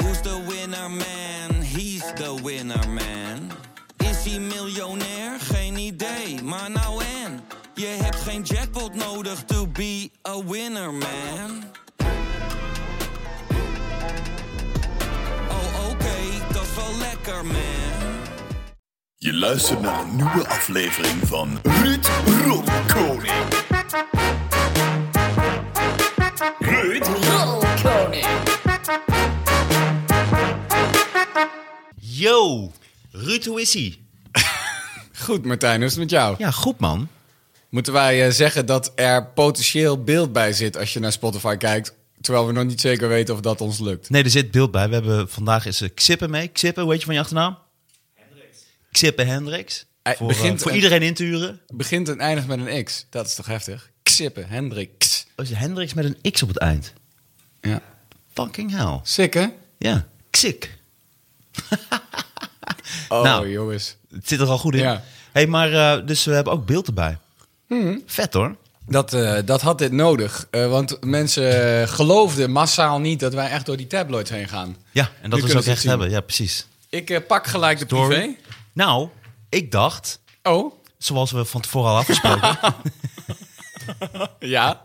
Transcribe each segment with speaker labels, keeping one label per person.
Speaker 1: Who's the winner man? He's the winner man. Is hij miljonair? Geen idee, maar nou en. Je hebt geen jackpot nodig to be a winner man. Oh oké, dat is wel lekker man.
Speaker 2: Je luistert naar een nieuwe aflevering van Ruud Rotkoning. Ruud.
Speaker 3: Yo, Ruud, hoe is ie?
Speaker 4: Goed, Martijn, hoe is het met jou?
Speaker 3: Ja, goed man.
Speaker 4: Moeten wij eh, zeggen dat er potentieel beeld bij zit als je naar Spotify kijkt, terwijl we nog niet zeker weten of dat ons lukt?
Speaker 3: Nee, er zit beeld bij. We hebben vandaag is eh, Xippe mee. Xippe, hoe heet je van je achternaam? Hendricks. Xippe Hendricks.
Speaker 4: Hij
Speaker 3: voor
Speaker 4: begint
Speaker 3: eh, voor
Speaker 4: een-
Speaker 3: iedereen in te huren.
Speaker 4: Begint en eindigt met een X. Dat is toch heftig? Xippe, Hendrix.
Speaker 3: Oh, is Hendricks met een X op het eind.
Speaker 4: Ja.
Speaker 3: Fucking hell.
Speaker 4: Sick, hè?
Speaker 3: Ja, Xik.
Speaker 4: Oh,
Speaker 3: Nou.
Speaker 4: jongens.
Speaker 3: Het zit er al goed in.
Speaker 4: Ja. Mhm.
Speaker 3: hey, maar eh, dus we hebben ook beeld erbij. Vet hoor.
Speaker 4: Dat, eh, dat had dit nodig. eh, want mensen eh, geloofden massaal niet dat wij echt door die tabloids heen gaan.
Speaker 3: Ja, en
Speaker 4: Nu
Speaker 3: dat we ze
Speaker 4: kunnen
Speaker 3: ook
Speaker 4: ze het
Speaker 3: echt
Speaker 4: zien.
Speaker 3: hebben. Ja, precies.
Speaker 4: Ik eh, pak gelijk de
Speaker 3: Door-
Speaker 4: privé.
Speaker 3: Nou, ik dacht,
Speaker 4: Oh,
Speaker 3: zoals we van tevoren al afgesproken.
Speaker 4: ja.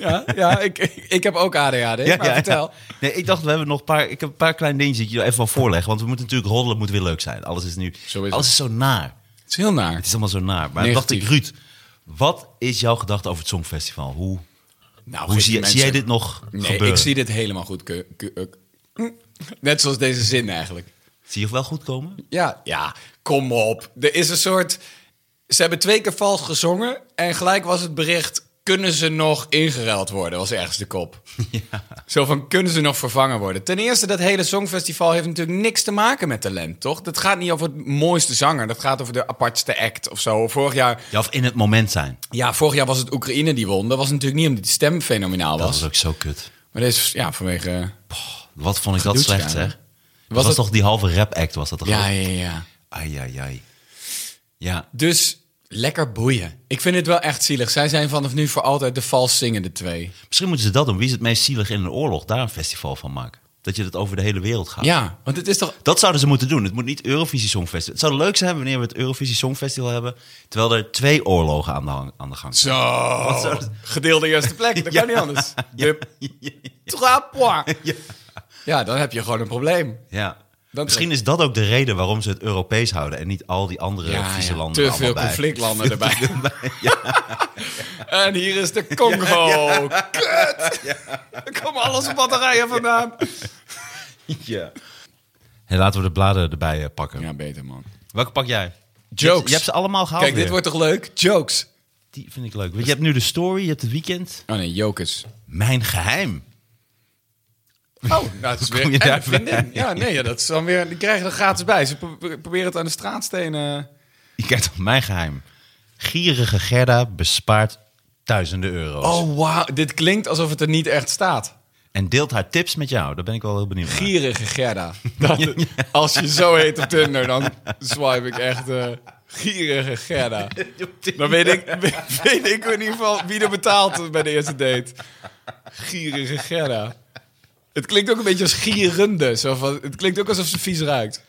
Speaker 4: Ja, ja ik, ik, ik heb ook ADHD, maar vertel.
Speaker 3: Nee, ik dacht, we hebben nog een paar, ik heb een paar kleine dingetjes die ik je even wil voorleggen. Want we moeten natuurlijk roddelen, moet weer leuk zijn. Alles is nu,
Speaker 4: Zo is
Speaker 3: alles
Speaker 4: het.
Speaker 3: is zo naar.
Speaker 4: Het is heel naar.
Speaker 3: Het is allemaal zo naar. Maar dacht ik,
Speaker 4: Negatief.
Speaker 3: Ruud, wat is jouw gedachte over het Songfestival? Hoe,
Speaker 4: Nou,
Speaker 3: hoe
Speaker 4: geef
Speaker 3: zie,
Speaker 4: die
Speaker 3: zie jij
Speaker 4: mensen-
Speaker 3: dit nog
Speaker 4: Nee,
Speaker 3: gebeuren?
Speaker 4: ik zie dit helemaal goed. ke- ke- eh, Net zoals deze zin eigenlijk.
Speaker 3: Zie je het wel goed komen?
Speaker 4: Ja, ja, kom op. Er is een soort... Ze hebben twee keer vals gezongen en gelijk was het bericht... kunnen ze nog ingeruild worden, was ergens de kop. Zo van, kunnen ze nog vervangen worden? Ten eerste, dat hele Songfestival heeft natuurlijk niks te maken met talent, toch? Dat gaat niet over het mooiste zanger, dat gaat over de apartste act of zo. Vorig jaar,
Speaker 3: Ja, of in het moment zijn.
Speaker 4: ja, vorig jaar was het Oekraïne die won. Dat was natuurlijk niet omdat die stem fenomenaal
Speaker 3: Dat
Speaker 4: was.
Speaker 3: was ook zo kut.
Speaker 4: Maar deze, ja, vanwege...
Speaker 3: Wat vond ik dat
Speaker 4: Gedoetje,
Speaker 3: slecht,
Speaker 4: ja.
Speaker 3: zeg. Was
Speaker 4: Was
Speaker 3: dat
Speaker 4: het-
Speaker 3: toch die halve rap-act, was dat toch?
Speaker 4: Ja,
Speaker 3: ook?
Speaker 4: ja, ja.
Speaker 3: Ai, ai, ai. Ja,
Speaker 4: Dus lekker boeien. Ik vind het wel echt zielig. Zij zijn vanaf nu voor altijd de vals zingende twee.
Speaker 3: misschien moeten ze dat doen. Wie is het meest zielig in een oorlog? Daar een festival van maken. Dat je dat over de hele wereld gaat.
Speaker 4: Ja, want het is toch...
Speaker 3: Dat zouden ze moeten doen. Het moet niet Eurovisie Songfestival. Het zou leuk zijn wanneer we het Eurovisie Songfestival hebben... terwijl er twee oorlogen aan de, hang- aan de gang zijn.
Speaker 4: Zo,
Speaker 3: zou dat-
Speaker 4: gedeelde eerste plek. Dat kan niet anders. De trois points.
Speaker 3: Ja.
Speaker 4: Ja, dan heb je gewoon een probleem.
Speaker 3: Ja.
Speaker 4: Dat-
Speaker 3: Misschien is dat ook de reden waarom ze het Europees houden... en niet al die andere
Speaker 4: Ja,
Speaker 3: vieze
Speaker 4: ja.
Speaker 3: landen
Speaker 4: Te
Speaker 3: er allemaal
Speaker 4: veel
Speaker 3: bij.
Speaker 4: conflictlanden erbij. En hier is de Congo. Kut. Er komen al onze batterijen vandaan.
Speaker 3: Ja. Hey, laten we de bladen erbij eh, pakken.
Speaker 4: Ja, beter man.
Speaker 3: Welke pak jij?
Speaker 4: Jokes.
Speaker 3: Je hebt ze allemaal gehaald
Speaker 4: Kijk, dit
Speaker 3: weer.
Speaker 4: wordt toch leuk? Jokes.
Speaker 3: Die vind ik leuk. Want Je hebt nu de story, je hebt het weekend.
Speaker 4: Oh nee, jokers.
Speaker 3: Mijn geheim.
Speaker 4: Oh, nou, het is weer
Speaker 3: kom je
Speaker 4: en
Speaker 3: daar
Speaker 4: een vriendin. Ja, nee, ja, dat is dan weer, die krijgen er gratis bij. Ze pro- pro- proberen het aan de straatstenen.
Speaker 3: Je kijkt op mijn geheim. Gierige Gerda bespaart duizenden euro's.
Speaker 4: Oh, wauw. Dit klinkt alsof het er niet echt staat.
Speaker 3: En deelt haar tips met jou. Daar ben ik wel heel benieuwd naar.
Speaker 4: Gierige Gerda. Dat- Als je zo heet op Tinder, dan swipe ik echt eh, gierige Gerda. Dan weet ik, weet ik in ieder geval wie er betaalt bij de eerste date. Gierige Gerda. Het klinkt ook een beetje als gierende. Zo van, het klinkt ook alsof ze vies ruikt.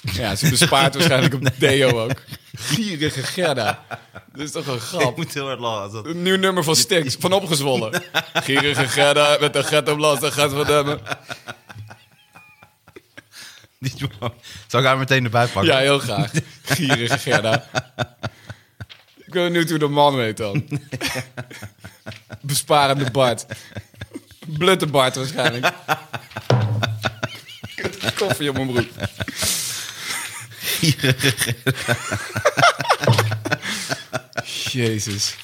Speaker 4: Ja, ze bespaart waarschijnlijk op deo ook. Gierige Gerda. Dat is toch een
Speaker 3: Ik
Speaker 4: grap.
Speaker 3: moet heel hard lachen. als dat-
Speaker 4: Een nieuw nummer van Stix, van opgezwollen. Gierige Gerda met de gat op last, de gat van demmen.
Speaker 3: Zal ik haar meteen erbij pakken?
Speaker 4: Ja, heel graag. Gierige Gerda. Ik ben benieuwd hoe de man weet dan. Besparende Bart. Blutte Bart waarschijnlijk. Koffie op mijn broek. Jezus.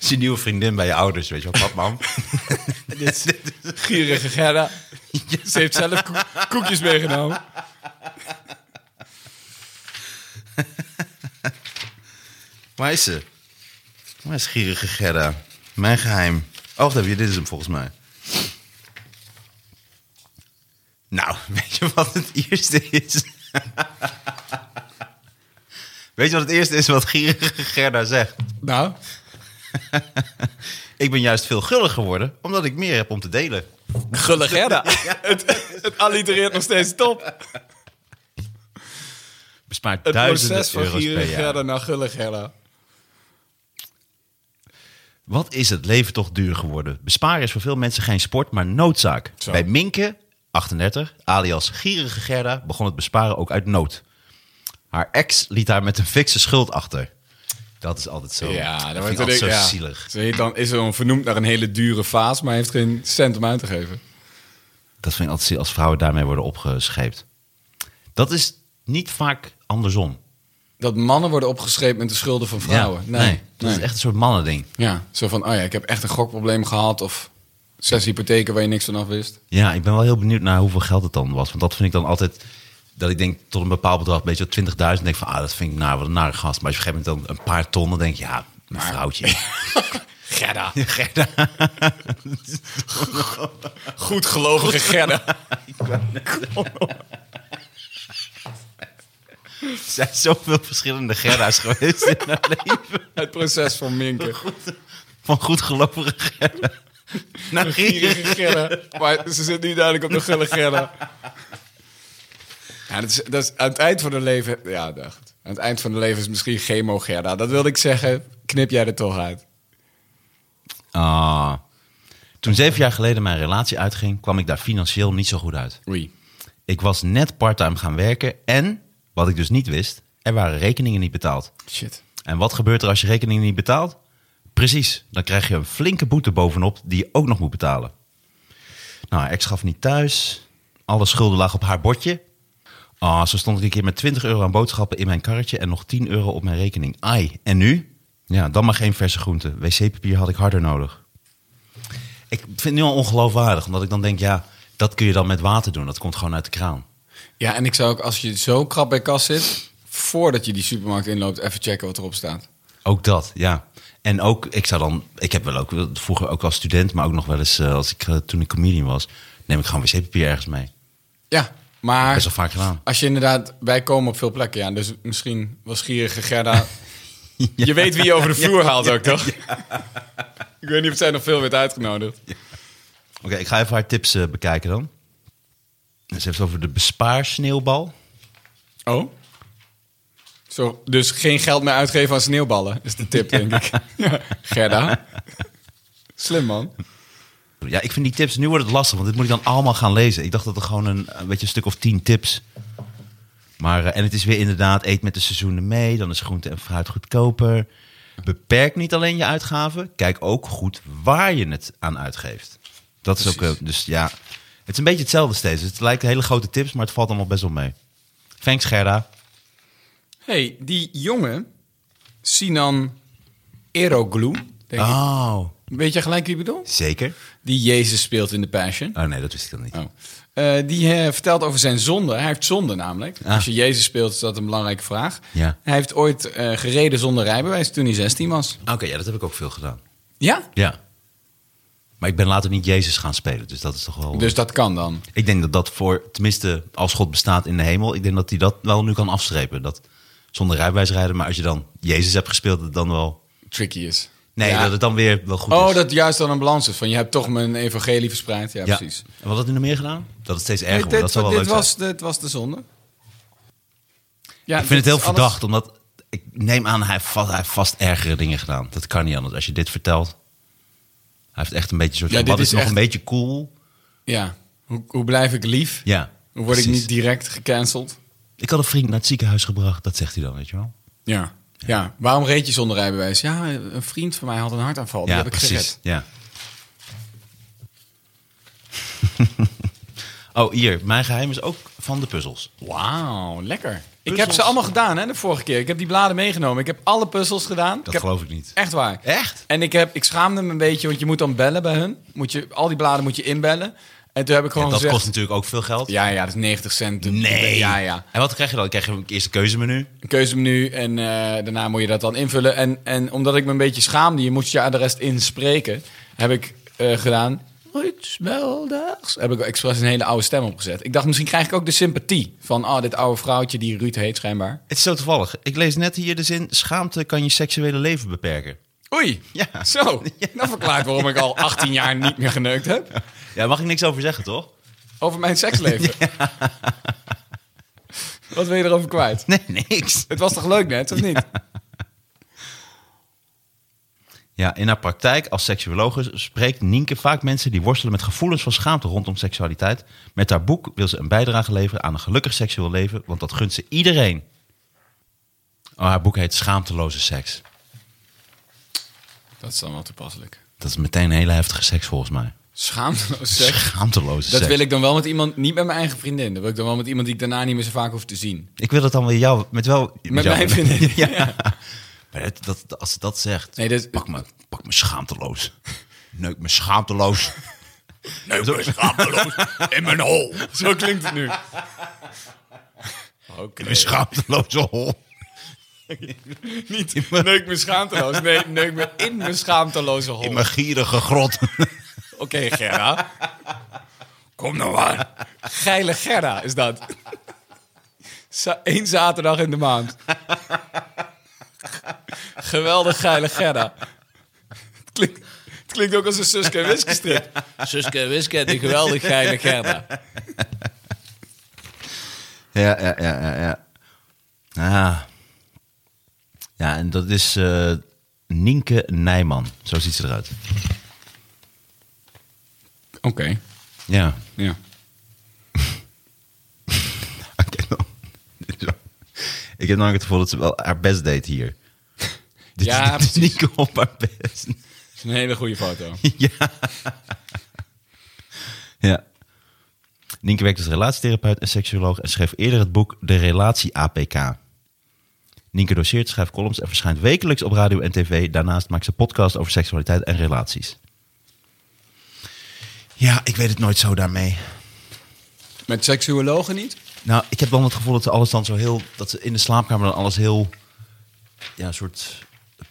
Speaker 3: Is je nieuwe vriendin bij je ouders, weet je wel. Pap, mam.
Speaker 4: Gierige Gerda. Ze heeft zelf koek- koekjes meegenomen.
Speaker 3: Waar is ze? Waar is gierige Gerda? Mijn geheim. Oh, wacht even, dit is hem volgens mij. Nou, weet je wat het eerste is? weet je wat het eerste is wat gierige Gerda zegt?
Speaker 4: Nou,
Speaker 3: Ik ben juist veel guller geworden, omdat ik meer heb om te delen.
Speaker 4: Gulle Gerda. het, het allitereert nog steeds top.
Speaker 3: Bespaart
Speaker 4: Het
Speaker 3: duizenden
Speaker 4: proces van
Speaker 3: euro's
Speaker 4: Gierige
Speaker 3: per jaar.
Speaker 4: Gerda naar Gulle Gerda.
Speaker 3: Wat is het leven toch duur geworden? Besparen is voor veel mensen geen sport, maar noodzaak.
Speaker 4: Zo.
Speaker 3: Bij Minke, 38, alias Gierige Gerda, begon het besparen ook uit nood. Haar ex liet haar met een fikse schuld achter. Dat is altijd zo.
Speaker 4: Ja,
Speaker 3: dat
Speaker 4: dan
Speaker 3: vind
Speaker 4: wordt
Speaker 3: ik altijd
Speaker 4: het
Speaker 3: zo
Speaker 4: ja.
Speaker 3: zielig.
Speaker 4: Ze heet Dan is er een vernoemd naar een hele dure vaas, maar heeft geen cent om uit te geven.
Speaker 3: Dat vind ik altijd zielig als vrouwen daarmee worden opgescheept. Dat is niet vaak andersom.
Speaker 4: Dat mannen worden opgeschreven met de schulden van vrouwen.
Speaker 3: Ja,
Speaker 4: nee, nee.
Speaker 3: Dat is echt een soort mannending.
Speaker 4: Ja, zo van, oh ja, ik heb echt een gokprobleem gehad of zes hypotheken waar je niks van af wist.
Speaker 3: Ja, ik ben wel heel benieuwd naar hoeveel geld het dan was. Want dat vind ik dan altijd... Dat ik denk tot een bepaald bedrag, weet je wel, 20.000. denk ik van, ah, dat vind ik naar, wat een nare gast. Maar als je op een gegeven moment dan een paar ton, dan denk je, ja, een vrouwtje.
Speaker 4: Gerda.
Speaker 3: Gerda.
Speaker 4: Goed gelovige Gerda.
Speaker 3: Er zijn zoveel verschillende Gerda's geweest in haar leven.
Speaker 4: Het proces van Minken.
Speaker 3: Van goedgelovige Gerda. Naar
Speaker 4: Gierige
Speaker 3: gierige.
Speaker 4: Gerda. Maar ze zit nu duidelijk op de gulle Gerda. Ja, dat is, dat is, aan het eind van haar leven... Ja, dacht. Aan het eind van haar leven is misschien chemo Gerda. Dat wilde ik zeggen. Knip jij er toch uit.
Speaker 3: Ah. Toen zeven jaar geleden mijn relatie uitging, kwam ik daar financieel niet zo goed uit.
Speaker 4: Oei.
Speaker 3: Ik was net parttime gaan werken en, wat ik dus niet wist, er waren rekeningen niet betaald.
Speaker 4: Shit.
Speaker 3: En wat gebeurt er als je rekening niet betaalt? Precies, dan krijg je een flinke boete bovenop die je ook nog moet betalen. Nou, haar ex gaf niet thuis. Alle schulden lagen op haar bordje. Ah, zo stond ik een keer met 20 euro aan boodschappen in mijn karretje en nog 10 euro op mijn rekening. Ai, en nu? Ja, dan maar geen verse groenten. Wc-papier had ik harder nodig. Ik vind het nu al ongeloofwaardig, omdat ik dan denk, ja, dat kun je dan met water doen. Dat komt gewoon uit de kraan.
Speaker 4: Ja, en ik zou ook als je zo krap bij kas zit... voordat je die supermarkt inloopt, even checken wat erop staat.
Speaker 3: Ook dat, ja. En ook, ik zou dan, ik heb wel ook vroeger ook als student, maar ook nog wel eens eh, als ik eh, toen ik comedian was, neem ik gewoon wc-papier ergens mee.
Speaker 4: Ja, maar...
Speaker 3: Best wel vaak gedaan.
Speaker 4: Als je inderdaad... Wij komen op veel plekken, ja. Dus misschien was gierige Gerda... Je weet wie je over de vloer haalt ook, toch? Ik weet niet of zij nog veel werd uitgenodigd.
Speaker 3: Oké, ik ga even haar tips eh, bekijken dan. Ze heeft het over de bespaarsneeuwbal.
Speaker 4: Oh? Zo, dus geen geld meer uitgeven aan sneeuwballen, is de tip, denk ik. Ja. Gerda. Slim, man.
Speaker 3: Ja, ik vind die tips, nu wordt het lastig, want dit moet ik dan allemaal gaan lezen. Ik dacht dat er gewoon een, een beetje een stuk of tien tips. Maar, eh, en het is weer inderdaad, eet met de seizoenen mee, dan is groente en fruit goedkoper. Beperk niet alleen je uitgaven, kijk ook goed waar je het aan uitgeeft. Dat is ook, eh, dus ja, het is een beetje hetzelfde steeds. Het lijkt hele grote tips, maar het valt allemaal best wel mee. Thanks Gerda.
Speaker 4: hey, die jongen, Sinan Eroglu, denk ik.
Speaker 3: Oh,
Speaker 4: Weet je gelijk wie ik bedoel?
Speaker 3: zeker?
Speaker 4: Ah. Die Jezus speelt in de Passion.
Speaker 3: Oh nee, dat wist ik dan niet.
Speaker 4: Oh. Eh, die eh, vertelt over zijn zonde. Hij heeft zonde namelijk.
Speaker 3: Ah.
Speaker 4: Als je Jezus speelt, is dat een belangrijke vraag.
Speaker 3: Ja.
Speaker 4: Hij heeft ooit eh, gereden zonder rijbewijs toen hij 16 was.
Speaker 3: Oké, ja, dat heb ik ook veel gedaan.
Speaker 4: Ja?
Speaker 3: Ja. Maar ik ben later niet Jezus gaan spelen, dus dat is toch wel...
Speaker 4: Dus dat kan dan.
Speaker 3: Ik denk dat dat voor, tenminste als God bestaat in de hemel, ik denk dat hij dat wel nu kan afstrepen. Dat zonder rijbewijs rijden, maar als je dan Jezus hebt gespeeld, dat het dan wel.
Speaker 4: Tricky is.
Speaker 3: Nee,
Speaker 4: Ja.
Speaker 3: dat het dan weer wel goed is.
Speaker 4: Oh, dat juist dan een balans is. Van je hebt toch mijn evangelie verspreid. Ja,
Speaker 3: ja.
Speaker 4: precies.
Speaker 3: En wat had hij nog meer gedaan? Dat het steeds erger
Speaker 4: dit
Speaker 3: wordt. Dat zou wel
Speaker 4: dit
Speaker 3: leuk
Speaker 4: was,
Speaker 3: zijn.
Speaker 4: dit was de zonde. Ja,
Speaker 3: Ik vind het
Speaker 4: dit
Speaker 3: heel
Speaker 4: is alles-
Speaker 3: verdacht, omdat ik neem aan, hij heeft, vast, hij heeft vast ergere dingen gedaan. Dat kan niet anders. Als je dit vertelt, hij heeft echt een beetje een soort.
Speaker 4: Ja,
Speaker 3: van,
Speaker 4: dit
Speaker 3: wat is,
Speaker 4: is
Speaker 3: nog
Speaker 4: echt-
Speaker 3: een beetje cool?
Speaker 4: Ja. Hoe, hoe blijf ik lief?
Speaker 3: Ja.
Speaker 4: Hoe word ik
Speaker 3: precies.
Speaker 4: niet direct gecanceld?
Speaker 3: Ik had een vriend naar het ziekenhuis gebracht, dat zegt hij dan, weet je wel.
Speaker 4: Ja. Ja. Waarom reed je zonder rijbewijs? Ja, een vriend van mij had een hartaanval. Oh, Die
Speaker 3: ja,
Speaker 4: heb ik
Speaker 3: precies.
Speaker 4: gered.
Speaker 3: Ja. oh, hier. Mijn geheim is ook van de puzzels.
Speaker 4: Wauw, lekker. Ik heb
Speaker 3: Puzzels.
Speaker 4: ze allemaal gedaan hè, de vorige keer. Ik heb die bladen meegenomen. Ik heb alle puzzels gedaan.
Speaker 3: Dat
Speaker 4: heb-
Speaker 3: geloof ik niet.
Speaker 4: Echt waar.
Speaker 3: Echt?
Speaker 4: En ik, heb, ik schaamde me een beetje, want je moet dan bellen bij hun. Moet je, al die bladen moet je inbellen. En toen heb ik gewoon
Speaker 3: En dat
Speaker 4: gezegd...
Speaker 3: kost natuurlijk ook veel geld.
Speaker 4: Ja, ja, dat is 90 cent.
Speaker 3: Nee.
Speaker 4: Ja, ja.
Speaker 3: En wat krijg je dan? Dan krijg je een eerste keuzemenu.
Speaker 4: Een keuzemenu en eh, daarna moet je dat dan invullen. En, en omdat ik me een beetje schaamde, je moest je adres inspreken, heb ik eh, gedaan... Ruud Smelders. Heb ik expres een hele oude stem opgezet. Ik dacht, misschien krijg ik ook de sympathie van... Oh, dit oude vrouwtje die Ruud heet schijnbaar.
Speaker 3: Het is zo toevallig. Ik lees net hier de zin... schaamte kan je seksuele leven beperken.
Speaker 4: Oei,
Speaker 3: Ja.
Speaker 4: zo. Dat verklaart waarom ik al 18 jaar niet meer geneukt heb.
Speaker 3: Ja, daar mag ik niks over zeggen, toch?
Speaker 4: Over mijn seksleven. Wat wil je erover kwijt?
Speaker 3: Nee, niks.
Speaker 4: Het was toch leuk net, of niet?
Speaker 3: Ja, in haar praktijk als seksuologe spreekt Nienke vaak mensen die worstelen met gevoelens van schaamte rondom seksualiteit. Met haar boek wil ze een bijdrage leveren aan een gelukkig seksueel leven, want dat gunt ze iedereen. Oh, haar boek heet Schaamteloze Seks.
Speaker 4: Dat is dan wel toepasselijk.
Speaker 3: Dat is meteen een hele heftige seks volgens mij.
Speaker 4: Schaamteloos seks.
Speaker 3: Schaamteloze
Speaker 4: Dat
Speaker 3: seks.
Speaker 4: wil ik dan wel met iemand, niet met mijn eigen vriendin. Dat wil ik dan wel met iemand die ik daarna niet meer zo vaak hoef te zien.
Speaker 3: Ik wil dat dan weer jou, met wel...
Speaker 4: Met
Speaker 3: jou-
Speaker 4: mijn vriendin.
Speaker 3: ja. Maar dat, dat, als ze dat zegt,
Speaker 4: Nee, dat-
Speaker 3: pak, me, pak me schaamteloos. Neuk me schaamteloos. Neuk me schaamteloos in mijn hol.
Speaker 4: Zo klinkt het nu. Oké.
Speaker 3: In mijn schaamteloze hol.
Speaker 4: Niet neuk me schaamteloos. Nee, neuk me in mijn schaamteloze hol.
Speaker 3: In mijn gierige grot.
Speaker 4: Oké, Gerda.
Speaker 3: Kom nou maar.
Speaker 4: Geile Gerda is dat. Za- Eén zaterdag in de maand. Geweldig geile Gerda. Het klinkt, het klinkt ook als een Suske en Wiske strip. Suske en Wiske en de geweldig geile Gerda.
Speaker 3: Ja, ja, ja, ja. Ja, ah. ja en dat is eh, Nienke Nijman. Zo ziet ze eruit.
Speaker 4: Oké,
Speaker 3: Ja.
Speaker 4: ja.
Speaker 3: Oké, dan. Dit is wel- Ik heb namelijk het gevoel dat ze wel haar best deed hier. Dit
Speaker 4: Ja,
Speaker 3: is, dit is Nienke op haar best.
Speaker 4: Het is een hele goede foto.
Speaker 3: ja. ja. Nienke werkt als relatietherapeut en seksuoloog en schreef eerder het boek De Relatie APK. Nienke doseert, schrijft columns en verschijnt wekelijks op radio en tv. Daarnaast maakt ze podcasts over seksualiteit en relaties. Ja, ik weet het nooit zo daarmee.
Speaker 4: Met seksuologen niet?
Speaker 3: Nou, ik heb dan het gevoel dat ze alles dan zo heel... dat ze in de slaapkamer dan alles heel... ja, een soort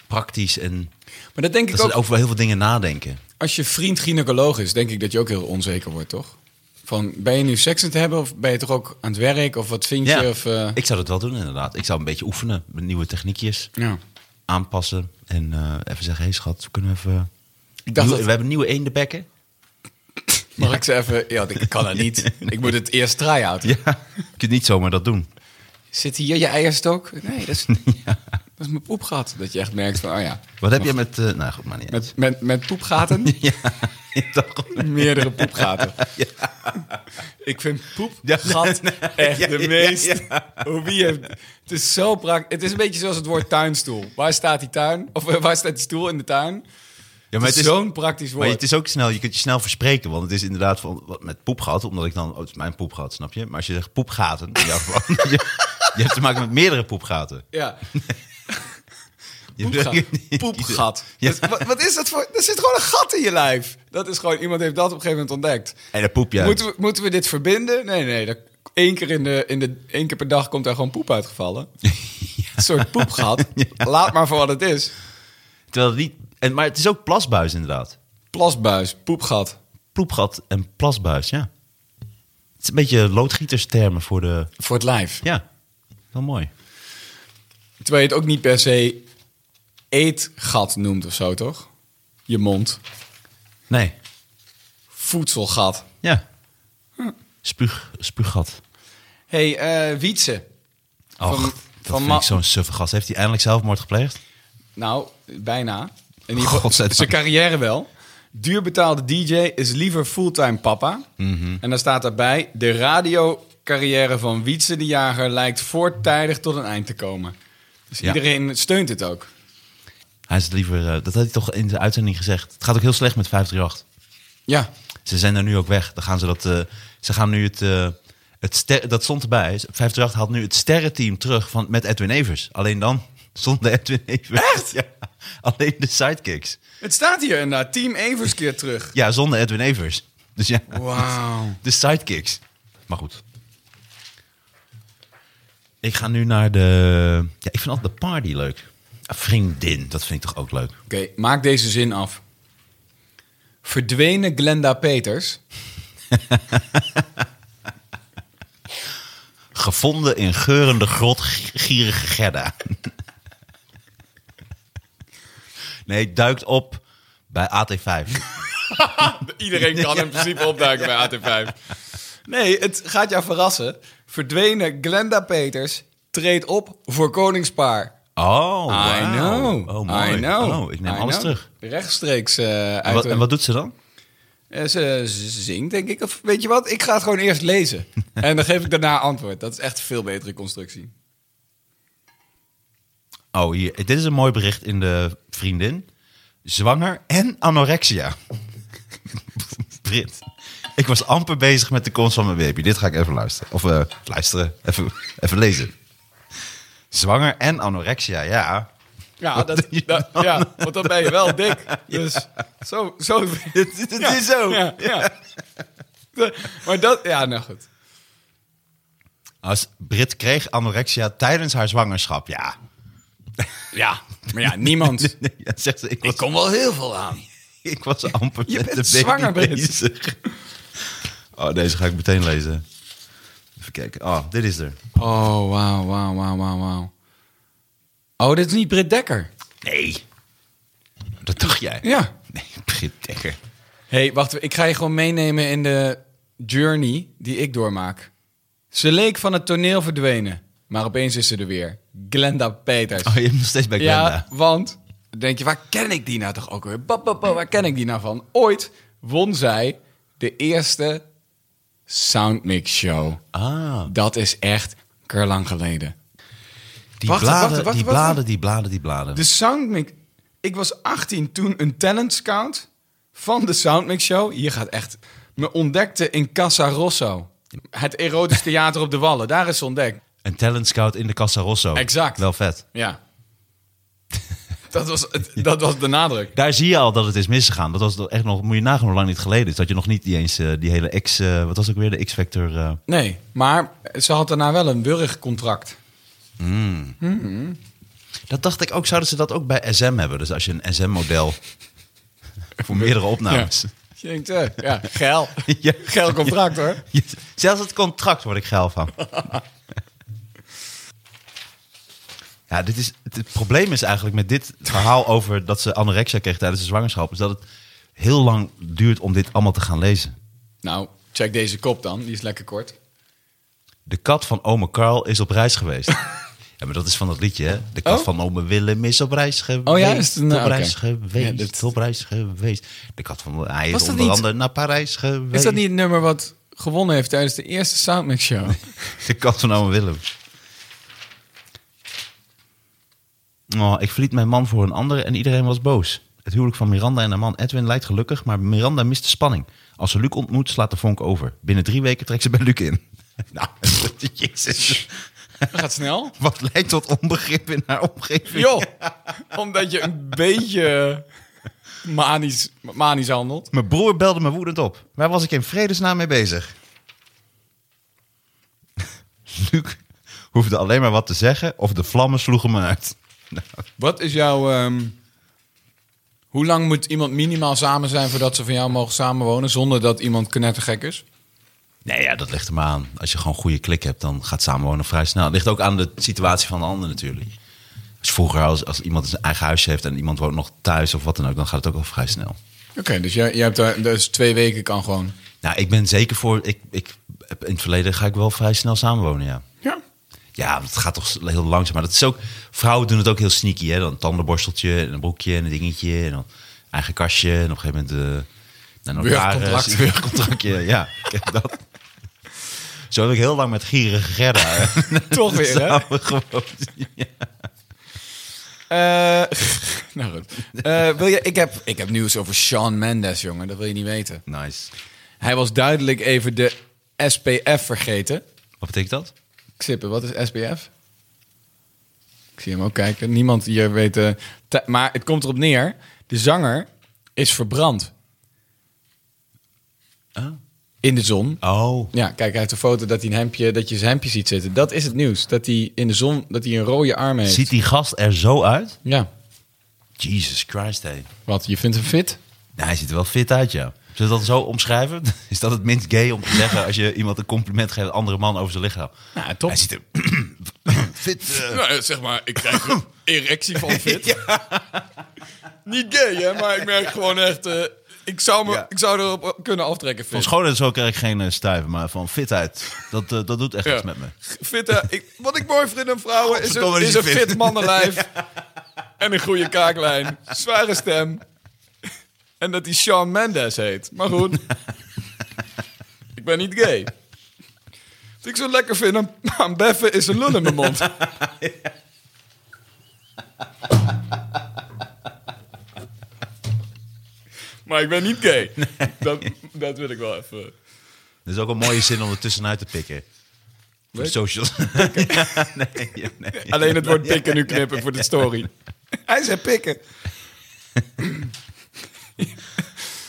Speaker 3: praktisch en...
Speaker 4: Maar dat denk ik
Speaker 3: dat ze
Speaker 4: ook.
Speaker 3: over wel heel veel dingen nadenken.
Speaker 4: Als je vriend gynaecoloog is, denk ik dat je ook heel onzeker wordt, toch? Van, ben je nu seks aan het hebben of ben je toch ook aan het werk? Of wat vind je?
Speaker 3: Ja,
Speaker 4: Of, eh,
Speaker 3: ik zou dat wel doen inderdaad. Ik zou een beetje oefenen met nieuwe techniekjes.
Speaker 4: ja.
Speaker 3: aanpassen. En eh, even zeggen, hé schat, we kunnen even...
Speaker 4: Ik dacht
Speaker 3: Nieuwe-
Speaker 4: dat-
Speaker 3: We hebben nieuwe eendenbekken.
Speaker 4: Mag ik ze even... Ja, ik kan dat niet. Ik moet het eerst try-out.
Speaker 3: Ja, je kunt niet zomaar dat doen.
Speaker 4: Zit hier je eierstok? Nee, dat is, dat is mijn poepgat. Dat je echt merkt van, oh ja.
Speaker 3: Wat heb je met... eh, nou goed, maar niet uit.
Speaker 4: Met, met, met poepgaten?
Speaker 3: Ik dacht al-
Speaker 4: Meerdere poepgaten. Ik vind poepgat echt
Speaker 3: Ja,
Speaker 4: de
Speaker 3: ja,
Speaker 4: meest...
Speaker 3: ja,
Speaker 4: Hoe wie heeft- het is zo praktisch. Het is een beetje zoals het woord tuinstoel. Waar staat die tuin? Of eh, waar staat die stoel in de tuin?
Speaker 3: Ja,
Speaker 4: het is zo'n praktisch
Speaker 3: Maar
Speaker 4: woord.
Speaker 3: het is ook snel, je kunt je snel verspreken. Want het is inderdaad van, wat, met poep gehad. Omdat ik dan, oh, het is mijn poep gehad, snap je? Maar als je zegt poepgaten, in jouw geval, je, je hebt te maken met meerdere poepgaten.
Speaker 4: Ja.
Speaker 3: Je
Speaker 4: Poepga- Poepgat.
Speaker 3: Ja.
Speaker 4: Dat- wat, wat is dat voor... Er zit gewoon een gat in je lijf. Dat is gewoon... Iemand heeft dat op een gegeven moment ontdekt.
Speaker 3: En dan poep je uit.
Speaker 4: Moeten we, moeten we dit verbinden? Nee, nee. Dat, één, keer in de, in de, één keer per dag komt daar gewoon poep uitgevallen. Een soort poepgat. Laat maar voor wat het is.
Speaker 3: Terwijl het niet... En, maar het is ook plasbuis inderdaad.
Speaker 4: Plasbuis, poepgat.
Speaker 3: Poepgat en plasbuis, ja. Het is een beetje loodgieterstermen voor de...
Speaker 4: Voor het lijf.
Speaker 3: Ja, wel mooi.
Speaker 4: Terwijl je het ook niet per se eetgat noemt of zo, toch? Je mond.
Speaker 3: Nee,
Speaker 4: Voedselgat.
Speaker 3: ja.
Speaker 4: Hm.
Speaker 3: Spuug, spuuggat.
Speaker 4: hey, eh, Wietse.
Speaker 3: Och,
Speaker 4: Van-
Speaker 3: dat
Speaker 4: van
Speaker 3: vind
Speaker 4: Ma-
Speaker 3: ik zo'n suffe gast. Heeft hij eindelijk zelfmoord gepleegd?
Speaker 4: Nou, bijna. In ieder geval
Speaker 3: Godzijdank.
Speaker 4: zijn carrière wel. Duurbetaalde DJ is liever fulltime papa. En dan staat daarbij... De radiocarrière van Wietse de Jager lijkt voortijdig tot een eind te komen. Dus
Speaker 3: Ja.
Speaker 4: iedereen steunt het ook.
Speaker 3: Hij is liever... eh, dat had hij toch in de uitzending gezegd. Het gaat ook heel slecht met 538.
Speaker 4: Ja.
Speaker 3: Ze zijn er nu ook weg. Dan gaan ze dat... eh, ze gaan nu het... eh, het ster- dat stond erbij. 538 haalt nu het sterrenteam terug van, met Edwin Evers. Alleen dan zonder Edwin Evers. Echt? Ja, alleen de sidekicks.
Speaker 4: Het staat hier inderdaad. Team Evers keer terug.
Speaker 3: Ja, zonder Edwin Evers. Dus ja,
Speaker 4: Wauw.
Speaker 3: de sidekicks. Maar goed. Ik ga nu naar de... Ja, ik vind altijd de party leuk. Een Vriendin, dat vind ik toch ook leuk.
Speaker 4: Oké, maak deze zin af. Verdwenen Glenda Peters.
Speaker 3: Gevonden in geurende grot, g- gierige Gerda. Nee, duikt op bij AT5.
Speaker 4: Iedereen kan in principe opduiken bij AT5. Nee, het gaat jou verrassen. Verdwenen Glenda Peters treedt op voor Koningspaar.
Speaker 3: Oh,
Speaker 4: I
Speaker 3: wauw.
Speaker 4: know.
Speaker 3: Oh, mooi.
Speaker 4: I know.
Speaker 3: Oh, ik neem
Speaker 4: I
Speaker 3: alles
Speaker 4: know.
Speaker 3: terug.
Speaker 4: Rechtstreeks eh,
Speaker 3: En
Speaker 4: uit.
Speaker 3: wat,
Speaker 4: een-
Speaker 3: en wat doet ze dan?
Speaker 4: Eh, ze ze zingt, denk ik. Of weet je wat? Ik ga het gewoon eerst lezen. en dan geef ik daarna antwoord. Dat is echt een veel betere constructie.
Speaker 3: Oh, hier. Dit is een mooi bericht in de vriendin. Zwanger en anorexia. Brit. Ik was amper bezig met de komst van mijn baby. Dit ga ik even luisteren. Of eh, luisteren. Even, even lezen. Zwanger en anorexia, ja.
Speaker 4: Ja, dat, dat- ja, want dan ben je wel dik. Dus zo, zo.
Speaker 3: Het is zo.
Speaker 4: Ja, ja. De- Maar dat, ja, nou goed.
Speaker 3: Als Brit kreeg anorexia tijdens haar zwangerschap, ja.
Speaker 4: Ja, maar ja, niemand.
Speaker 3: Nee, ja, zegt ze, ik, was,
Speaker 4: Ik kom wel heel veel aan.
Speaker 3: ik was amper
Speaker 4: Je
Speaker 3: met
Speaker 4: bent
Speaker 3: de baby
Speaker 4: zwanger, Brit.
Speaker 3: bezig. Oh, deze ga ik meteen lezen. Even kijken. Oh, dit is er.
Speaker 4: Oh, wauw, wauw, wauw, wauw, wauw. Oh, dit is niet Britt Dekker.
Speaker 3: Nee. Dat dacht jij?
Speaker 4: Ja.
Speaker 3: Nee, Britt Dekker.
Speaker 4: Hé, hey, wacht, ik ga je gewoon meenemen in de journey die ik doormaak. Ze leek van het toneel verdwenen, maar opeens is ze er weer. Glenda Peters.
Speaker 3: Oh, je hebt nog steeds bij Glenda.
Speaker 4: Ja, want dan denk je, waar ken ik die nou toch ook weer? Ba, ba, ba, waar ken ik die nou van? Ooit won zij de eerste Soundmix Show.
Speaker 3: Ah.
Speaker 4: Dat is echt lang geleden.
Speaker 3: Die
Speaker 4: Wacht,
Speaker 3: bladen,
Speaker 4: wacht, wacht, Dus-
Speaker 3: die
Speaker 4: wacht.
Speaker 3: bladen, die bladen, die bladen.
Speaker 4: De Soundmix... Ik was 18 toen een talent scout van de Soundmix Show. Hier gaat echt... Me ontdekte in Casa Rosso. Het erotisch theater op de Wallen. Daar is ze ontdekt.
Speaker 3: Een talent scout in de Casa Rosso.
Speaker 4: Exact.
Speaker 3: Wel vet.
Speaker 4: Ja. dat, was, het- dat was de nadruk.
Speaker 3: Daar zie je al dat het is misgegaan. Dat was echt nog, moet je nagaan hoe lang dit geleden is. Dat je nog niet die eens eh, die hele X, eh, wat was ook weer de X-Factor. eh,
Speaker 4: Nee, maar ze had daarna wel een burgercontract.
Speaker 3: Dat dacht ik ook, zouden ze dat ook bij SM hebben? Dus als je een SM-model voor meerdere opnames.
Speaker 4: Je denkt, eh, ja, geil.
Speaker 3: Ja.
Speaker 4: Geil contract hoor.
Speaker 3: Je- Zelfs het contract word ik geil van. Ja, dit is, het, het probleem is eigenlijk met dit verhaal over dat ze anorexia kreeg tijdens de zwangerschap... is dat het heel lang duurt om dit allemaal te gaan lezen.
Speaker 4: Nou, check deze kop dan. Die is lekker kort.
Speaker 3: De kat van ome Carl is op reis geweest. ja, maar dat is van dat liedje, hè? De kat
Speaker 4: Oh?
Speaker 3: van ome Willem is op reis geweest.
Speaker 4: ja, is het een-
Speaker 3: op
Speaker 4: oké.
Speaker 3: reis geweest,
Speaker 4: Ja, dit-
Speaker 3: op reis geweest. De kat van... Hij
Speaker 4: Was
Speaker 3: is
Speaker 4: dat
Speaker 3: onder
Speaker 4: niet-
Speaker 3: andere naar Parijs geweest.
Speaker 4: Is dat niet het nummer wat gewonnen heeft tijdens de eerste Soundmix Show?
Speaker 3: De kat van Owen nou Willem. Oh, ik verliet mijn man voor een ander en iedereen was boos. Het huwelijk van Miranda en haar man Edwin lijkt gelukkig, maar Miranda mist de spanning. Als ze Luc ontmoet, slaat de vonk over. Binnen drie weken trekt ze bij Luc in. Nou, jezus.
Speaker 4: Dat gaat snel.
Speaker 3: Wat leidt tot onbegrip in haar omgeving.
Speaker 4: Joh, omdat je een beetje manisch, manisch handelt.
Speaker 3: Mijn broer belde me woedend op. Waar was ik in vredesnaam mee bezig? Luc hoefde alleen maar wat te zeggen of de vlammen sloegen me uit.
Speaker 4: Wat is jouw... ehm, hoe lang moet iemand minimaal samen zijn voordat ze van jou mogen samenwonen zonder dat iemand knettergek is?
Speaker 3: Nee, ja, dat ligt er maar aan. Als je gewoon goede klik hebt, dan gaat samenwonen vrij snel. Het ligt ook aan de situatie van de ander natuurlijk. Dus vroeger, als, als iemand zijn eigen huisje heeft en iemand woont nog thuis of wat dan ook, dan gaat het ook al vrij snel.
Speaker 4: Oké, dus jij, jij hebt daar, dus twee weken kan gewoon.
Speaker 3: Nou, ik ben zeker voor. Ik, ik, heb- in het verleden ga ik wel vrij snel samenwonen, ja.
Speaker 4: Ja.
Speaker 3: Ja, dat gaat toch heel langzaam. Maar dat is ook. Vrouwen doen het ook heel sneaky, hè? Dan een tandenborsteltje en een broekje en een dingetje en dan eigen kastje en op een gegeven moment. eh naar een
Speaker 4: Werkcontract.
Speaker 3: notaris, Werkcontractje, ja. Kijk, dat. Zo heb ik heel lang met gierige Gerda.
Speaker 4: Toch weer, hè?
Speaker 3: Samen gewoond.
Speaker 4: Eh, nou goed. Eh, wil je, ik, heb, ik heb nieuws over Sean Mendes, jongen. Dat wil je niet weten.
Speaker 3: Nice.
Speaker 4: Hij was duidelijk even de SPF vergeten.
Speaker 3: Wat betekent dat?
Speaker 4: Xippe, wat is SPF? Ik zie hem ook kijken. Niemand hier weet... eh, te- maar het komt erop neer. De zanger is verbrand. In de zon.
Speaker 3: Oh.
Speaker 4: Ja, kijk, hij heeft een foto dat, hij een hemdje, dat je zijn hemdje ziet zitten. Dat is het nieuws. Dat hij in de zon dat hij een rode arm heeft.
Speaker 3: Ziet die gast er zo uit?
Speaker 4: Ja.
Speaker 3: Jesus Christ, hé.
Speaker 4: Wat, je vindt hem fit?
Speaker 3: Nou, hij ziet er wel fit uit, ja. Zullen we dat zo omschrijven? Is dat het minst gay om te zeggen als je iemand een compliment geeft, een andere man over zijn lichaam?
Speaker 4: Nou, top.
Speaker 3: Hij ziet er fit eh,
Speaker 4: Nou, zeg maar, ik krijg een erectie van fit. Niet gay, hè, maar ik merk gewoon echt... eh, ik, zou me,
Speaker 3: Ja.
Speaker 4: ik zou erop kunnen aftrekken,
Speaker 3: Van
Speaker 4: Fit.
Speaker 3: schoonheid en zo krijg ik geen eh, stuiven, maar van fitheid, dat, eh, dat doet echt
Speaker 4: Ja.
Speaker 3: iets met me.
Speaker 4: Fitte, ik, wat ik mooi vind aan vrouwen is een,
Speaker 3: Godverdomme, die
Speaker 4: is een
Speaker 3: is fit.
Speaker 4: fit mannenlijf. En een goede kaaklijn. Zware stem. En dat hij Shawn Mendes heet. Maar goed. ik ben niet gay. Wat ik zo lekker vind aan, aan beffen is een lul in mijn mond. maar ik ben niet gay. Dat, dat wil ik wel even...
Speaker 3: Dat is ook een mooie zin om er tussenuit te pikken. Voor de socials.
Speaker 4: Alleen het woord pikken nu knippen voor de story. Hij zei pikken.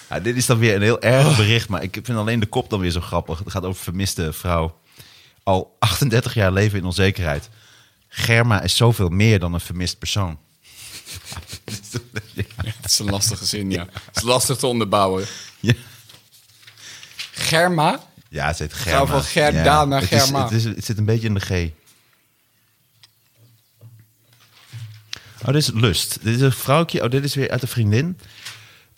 Speaker 3: Ja, dit is dan weer een heel erg bericht, maar ik vind alleen de kop dan weer zo grappig. Het gaat over vermiste vrouw. Al 38 jaar leven in onzekerheid. Germa is zoveel meer dan een vermist persoon.
Speaker 4: Het is een lastige zin, ja. Het is lastig te onderbouwen.
Speaker 3: Ja.
Speaker 4: Germa?
Speaker 3: Ja, het heet Germa.
Speaker 4: van Gerda
Speaker 3: Ja,
Speaker 4: naar
Speaker 3: het is-
Speaker 4: Germa.
Speaker 3: Het, is, het zit een beetje in de G. Oh, dit is lust. Dit is een vrouwtje. Oh, dit is weer uit een vriendin.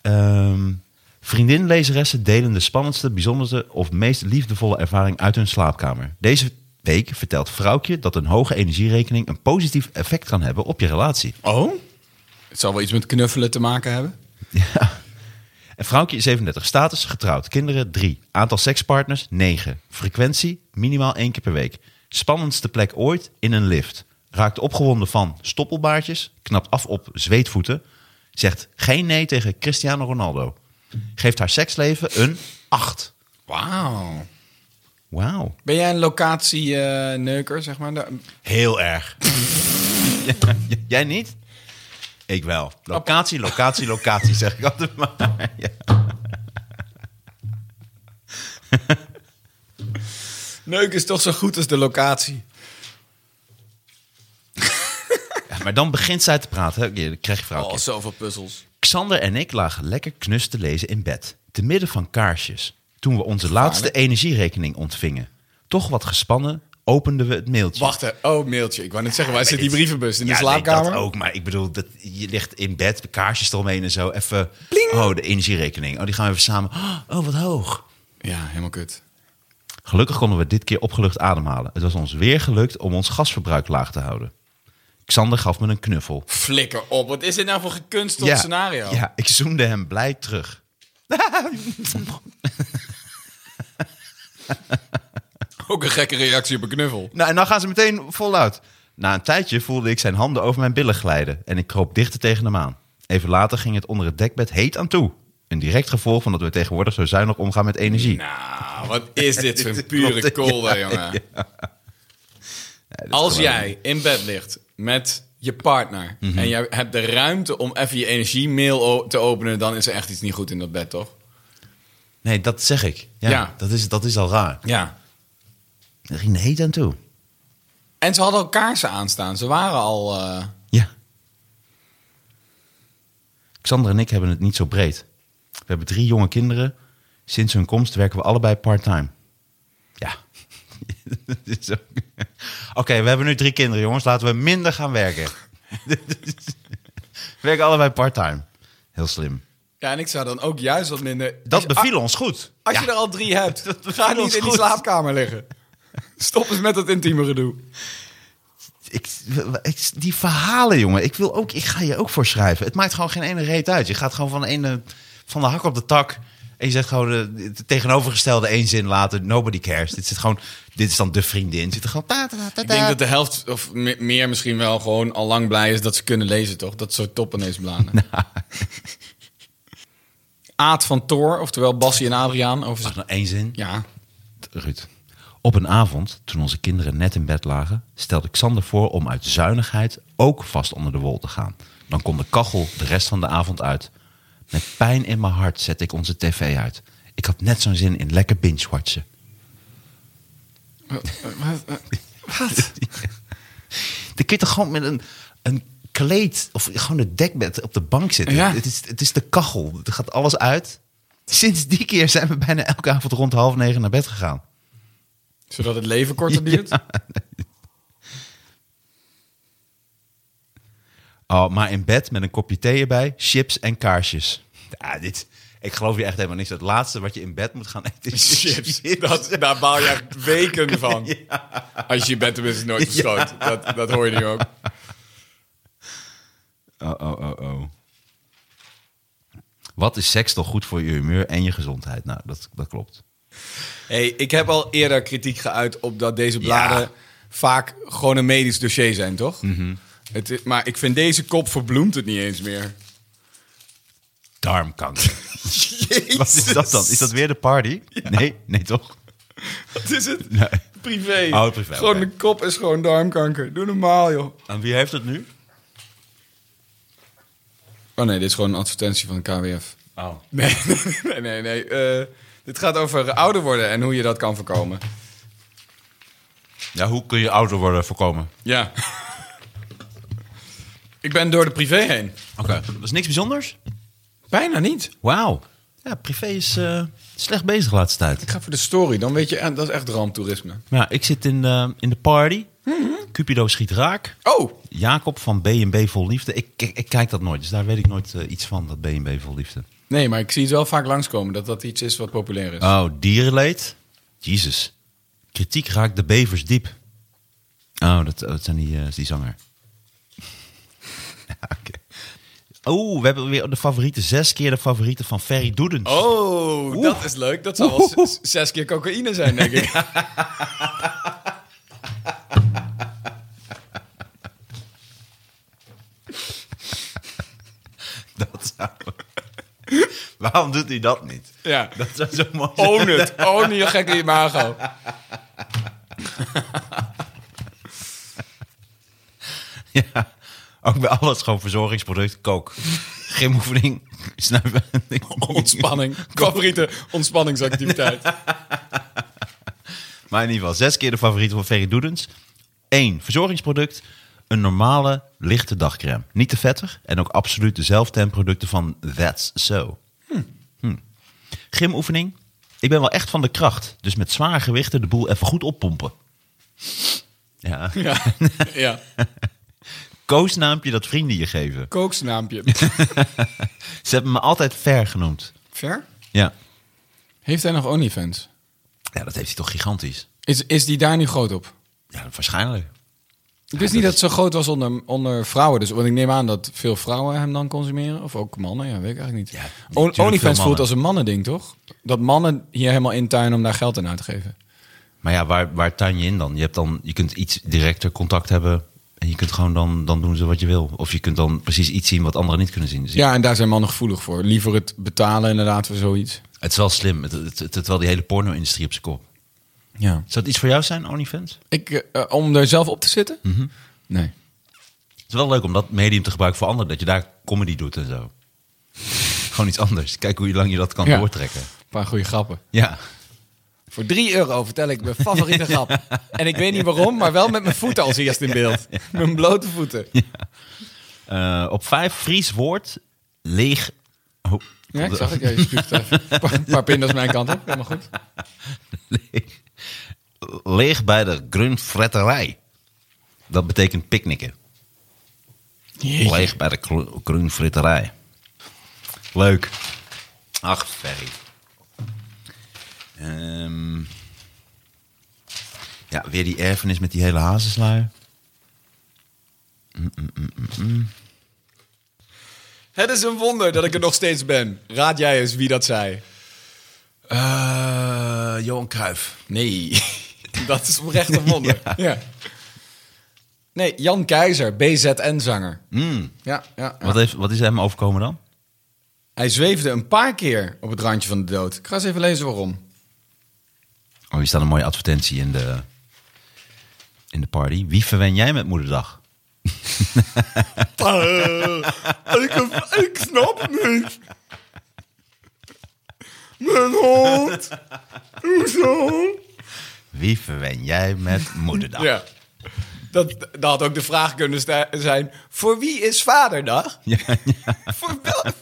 Speaker 3: Ehm, vriendin, lezeressen delen de spannendste, bijzonderste of meest liefdevolle ervaring uit hun slaapkamer. Deze week vertelt vrouwtje dat een hoge energierekening een positief effect kan hebben op je relatie.
Speaker 4: Oh? Het zal wel iets met knuffelen te maken hebben.
Speaker 3: Ja. En vrouwtje is 37. Status getrouwd. Kinderen 3. Aantal sekspartners 9. Frequentie minimaal één keer per week. Spannendste plek ooit in een lift. Raakt opgewonden van stoppelbaardjes. Knapt af op zweetvoeten. Zegt geen nee tegen Cristiano Ronaldo. Geeft haar seksleven een 8.
Speaker 4: Wauw.
Speaker 3: Wauw.
Speaker 4: Ben jij een locatieneuker, zeg maar? Nou, Da-
Speaker 3: Heel erg. Ja, j- Jij niet? Ik wel. Locatie, locatie, locatie, zeg ik altijd maar. Ja.
Speaker 4: Neuk is toch zo goed als de locatie.
Speaker 3: Maar dan begint zij te praten. hè. Ja, Dan krijg je vrouwtje.
Speaker 4: Oh, zoveel puzzels.
Speaker 3: Xander en ik lagen lekker knus te lezen in bed, te midden van kaarsjes, toen we onze laatste energierekening ontvingen. Toch wat gespannen openden we het mailtje.
Speaker 4: Wacht, hè. oh, mailtje. Ik wou net zeggen, waar zit die
Speaker 3: Dit-
Speaker 4: brievenbus? In de
Speaker 3: ja, nee,
Speaker 4: slaapkamer?
Speaker 3: dat ook, maar ik bedoel, dat, je ligt in bed, de kaarsjes eromheen en zo. Even, oh, de energierekening. Oh, die gaan we even samen. Oh, wat hoog.
Speaker 4: Ja, helemaal kut.
Speaker 3: Gelukkig konden we dit keer opgelucht ademhalen. Het was ons weer gelukt om ons gasverbruik laag te houden. Xander gaf me een knuffel.
Speaker 4: Flikker op. Wat is dit nou voor gekunsteld scenario?
Speaker 3: Ja, ik zoende hem blij terug.
Speaker 4: Ook een gekke reactie op een knuffel.
Speaker 3: Nou, en dan gaan ze meteen voluit. Na een tijdje voelde ik zijn handen over mijn billen glijden en ik kroop dichter tegen hem aan. Even later ging het onder het dekbed heet aan toe. Een direct gevolg van dat we tegenwoordig zo zuinig omgaan met energie.
Speaker 4: Nou, wat is dit voor een pure
Speaker 3: Klopt,
Speaker 4: kolder, jongen. Als jij in bed ligt met je partner...
Speaker 3: Mhm.
Speaker 4: en jij hebt de ruimte om even je energiemail o- te openen... dan is er echt iets niet goed in dat bed, toch?
Speaker 3: Nee, dat zeg ik. Ja,
Speaker 4: Ja.
Speaker 3: Dat, is, dat is al raar.
Speaker 4: Ja.
Speaker 3: Er ging heet aan toe.
Speaker 4: En ze hadden al kaarsen aanstaan. Ze waren al... eh,
Speaker 3: Ja. Xander en ik hebben het niet zo breed. We hebben drie jonge kinderen. Sinds hun komst werken we allebei part-time. Ja. Dit is ook- Oké, we hebben nu drie kinderen, jongens. Laten we minder gaan werken. Dit is- we werken allebei part-time. Heel slim.
Speaker 4: Ja, en ik zou dan ook juist wat minder... Als
Speaker 3: Dat
Speaker 4: je-
Speaker 3: beviel ons goed.
Speaker 4: Als
Speaker 3: Ja.
Speaker 4: je er al drie hebt,
Speaker 3: Dat beviel
Speaker 4: ga niet
Speaker 3: ons
Speaker 4: in die
Speaker 3: goed.
Speaker 4: slaapkamer liggen. Stop eens met dat intieme gedoe.
Speaker 3: Ik, ik- die verhalen, jongen. Ik, wil ook, ik ga je ook voor schrijven. Het maakt gewoon geen ene reet uit. Je gaat gewoon van de, ene, van de hak op de tak. En je zegt gewoon de, de tegenovergestelde één zin later. Nobody cares. Dit, zit gewoon, dit is dan de vriendin. Zit er gewoon... ta, ta, ta, ta.
Speaker 4: Ik denk dat de helft, of me- meer misschien wel, gewoon al lang blij is dat ze kunnen lezen, toch? Dat soort toppen ineens bladen.
Speaker 3: Nou,
Speaker 4: Aad van Toor, oftewel Bassie en Adriaan.
Speaker 3: Wacht,
Speaker 4: Over zijn...
Speaker 3: nog één zin.
Speaker 4: Ja,
Speaker 3: Ruud. Op een avond, toen onze kinderen net in bed lagen... stelde Xander voor om uit zuinigheid ook vast onder de wol te gaan. Dan kon de kachel de rest van de avond uit. Met pijn in mijn hart zette ik onze tv uit. Ik had net zo'n zin in lekker binge-watchen. Wat? Dan kun je toch gewoon met een, een kleed of gewoon het dekbed op de bank zitten.
Speaker 4: Ja.
Speaker 3: Het, is, het is de kachel. Er gaat alles uit. Sinds die keer zijn we bijna elke avond rond half negen naar bed gegaan.
Speaker 4: zodat het leven korter duurt.
Speaker 3: Oh, maar in bed met een kopje thee erbij, chips en kaarsjes. Ja, dit, ik geloof je echt helemaal niks. Het laatste wat je in bed moet gaan eten is
Speaker 4: Chips. Dat, daar baal je echt weken van. Als je je bent tenminste nooit verstoot. Dat, dat hoor je nu ook.
Speaker 3: Oh, oh, oh, oh. Wat is seks toch goed voor je humeur en je gezondheid? Nou, dat, dat klopt.
Speaker 4: Hey, ik heb al eerder kritiek geuit op dat deze bladen
Speaker 3: Ja.
Speaker 4: vaak gewoon een medisch dossier zijn, toch? Het is- maar ik vind deze kop verbloemt het niet eens meer.
Speaker 3: Darmkanker. Wat is dat dan? Is dat weer de party? Nee, nee toch?
Speaker 4: Wat is het?
Speaker 3: Nee.
Speaker 4: Privé.
Speaker 3: Oh, privé,
Speaker 4: Gewoon
Speaker 3: oké.
Speaker 4: de kop is gewoon darmkanker. Doe normaal, joh.
Speaker 3: En wie heeft het nu?
Speaker 4: Oh nee, dit is gewoon een advertentie van KWF.
Speaker 3: Oh.
Speaker 4: Nee, nee, nee. nee. Eh, dit gaat over ouder worden en hoe je dat kan voorkomen.
Speaker 3: Ja, hoe kun je ouder worden voorkomen?
Speaker 4: Ja. ik ben door de privé heen.
Speaker 3: Oké, dat is niks bijzonders?
Speaker 4: Bijna niet.
Speaker 3: Wauw. Ja, privé is eh, slecht bezig de laatste tijd.
Speaker 4: Ik ga voor de story, dan weet je, eh, dat is echt ramptoerisme.
Speaker 3: Nou, ik zit in, eh, in de party. Cupido schiet raak.
Speaker 4: Oh,
Speaker 3: Jacob van B&B Vol Liefde. Ik, ik, ik kijk dat nooit, dus daar weet ik nooit eh, iets van, dat B&B Vol Liefde.
Speaker 4: nee, maar ik zie het wel vaak langskomen dat dat iets is wat populair is.
Speaker 3: Oh, dierenleed? Jezus. Kritiek raakt de bevers diep. Oh, dat, oh, dat zijn die, eh, die zanger. Ja, oké. Oh, we hebben weer de favoriete. Zes keer de favoriete van Ferry Doedens.
Speaker 4: Oh, dat
Speaker 3: Oeh.
Speaker 4: is leuk. Dat zal wel z- zes keer cocaïne zijn, denk ik.
Speaker 3: Dat zou... Waarom doet hij dat niet?
Speaker 4: Ja.
Speaker 3: Dat zou zo mooi zijn.
Speaker 4: Own het. Own je gekke imago.
Speaker 3: Ja. Ook bij alles gewoon verzorgingsproduct. Kook. Gymoefening. Snuiven.
Speaker 4: Ontspanning. Favoriete ontspanningsactiviteit.
Speaker 3: Maar in ieder geval, zes keer de favoriet van Ferry Doedens. Eén, verzorgingsproduct. Een normale, lichte dagcrème. Niet te vettig en ook absoluut dezelfde en producten van That's So. Hm. Gymoefening. Ik ben wel echt van de kracht. Dus met zware gewichten de boel even goed oppompen. Ja.
Speaker 4: Ja. ja.
Speaker 3: Koosnaampje dat vrienden je geven.
Speaker 4: Kooksnaampje.
Speaker 3: Ze hebben me altijd Ver genoemd.
Speaker 4: Ver?
Speaker 3: Ja.
Speaker 4: Heeft hij nog OnlyFans?
Speaker 3: Ja, dat heeft hij toch gigantisch.
Speaker 4: Is, is die daar nu groot op?
Speaker 3: Ja, waarschijnlijk.
Speaker 4: Ik wist niet dat het zo groot was onder, onder vrouwen. Dus, want ik neem aan dat veel vrouwen hem dan consumeren. Of ook mannen, ja, weet ik eigenlijk
Speaker 3: Ja,
Speaker 4: niet. On-
Speaker 3: natuurlijk veel
Speaker 4: OnlyFans
Speaker 3: mannen.
Speaker 4: voelt als een mannending, toch? Dat mannen hier helemaal intuinen om daar geld aan uit te geven.
Speaker 3: Maar ja, waar, waar tuin je in dan? Je, hebt dan? je kunt iets directer contact hebben. En je kunt gewoon dan, dan doen ze wat je wil. Of je kunt dan precies iets zien wat anderen niet kunnen zien. Dus
Speaker 4: Ja, en daar zijn mannen gevoelig voor. Liever het betalen inderdaad voor zoiets.
Speaker 3: Het is wel slim. Het, het, het, het wel die hele porno-industrie op zijn kop.
Speaker 4: Ja.
Speaker 3: Zou het iets voor jou zijn, OnlyFans?
Speaker 4: Ik, eh, eh, om er zelf op te zitten?
Speaker 3: Mhm.
Speaker 4: Nee.
Speaker 3: Het is wel leuk om dat medium te gebruiken voor anderen. Dat je daar comedy doet en zo. gewoon iets anders. Kijk hoe lang je dat kan
Speaker 4: Ja.
Speaker 3: doortrekken.
Speaker 4: Een paar goede grappen.
Speaker 3: Ja.
Speaker 4: Voor 3 euro vertel ik mijn favoriete grap. En ik weet niet waarom, maar wel met mijn voeten als eerst in beeld. Mijn blote voeten.
Speaker 3: Eh, op vijf, Fries woord. Leeg. Oh,
Speaker 4: Ja, ik zag het. Ja, je spuugt even. Een paar- Een paar pindas mijn kant op. Helemaal goed.
Speaker 3: leeg. Leeg bij de grunfretterij. Dat betekent picknicken. Leeg bij de kro- groenfritterij. Leuk. Ach, Ferry. Ehm, ja, weer die erfenis met die hele hazenslui.
Speaker 4: Het is een wonder dat ik er nog steeds ben. Raad jij eens wie dat zei? Eh,
Speaker 3: Johan Cruijff.
Speaker 4: Nee. Dat is oprecht een wonder. Ja. Nee, Jan Keizer, BZN-zanger. Ja, ja.
Speaker 3: Wat, heeft, wat is hem overkomen dan?
Speaker 4: Hij zweefde een paar keer op het randje van de dood. Ik ga eens even lezen waarom.
Speaker 3: Oh, hier staat een mooie advertentie in de, in de party. Wie verwen jij met moederdag?
Speaker 4: Ik, ik snap het niet. Mijn hond. Hoezo?
Speaker 3: Wie verwen jij met moederdag?
Speaker 4: Ja. Dat, dat had ook de vraag kunnen sta- zijn: voor wie is Vaderdag?
Speaker 3: Ja,
Speaker 4: Voor wel-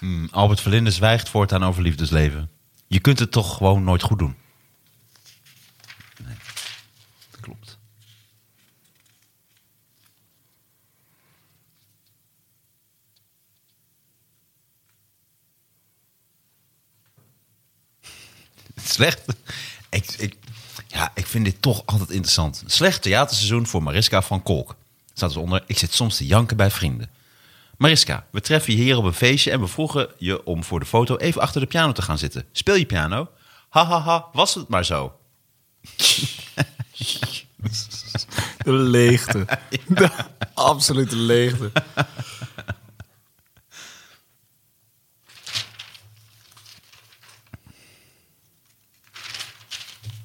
Speaker 3: Ehm, Albert Verlinde zwijgt voortaan over liefdesleven. Je kunt het toch gewoon nooit goed doen. Nee, klopt. Slecht. Ik, ik, ja, ik vind dit toch altijd interessant. Slecht theaterseizoen voor Mariska van Kolk. Staat dus onder, ik zit soms te janken bij vrienden. Mariska, we treffen je hier op een feestje en we vroegen je om voor de foto even achter de piano te gaan zitten. Speel je piano? Hahaha, was het maar zo.
Speaker 4: De leegte. De absolute leegte.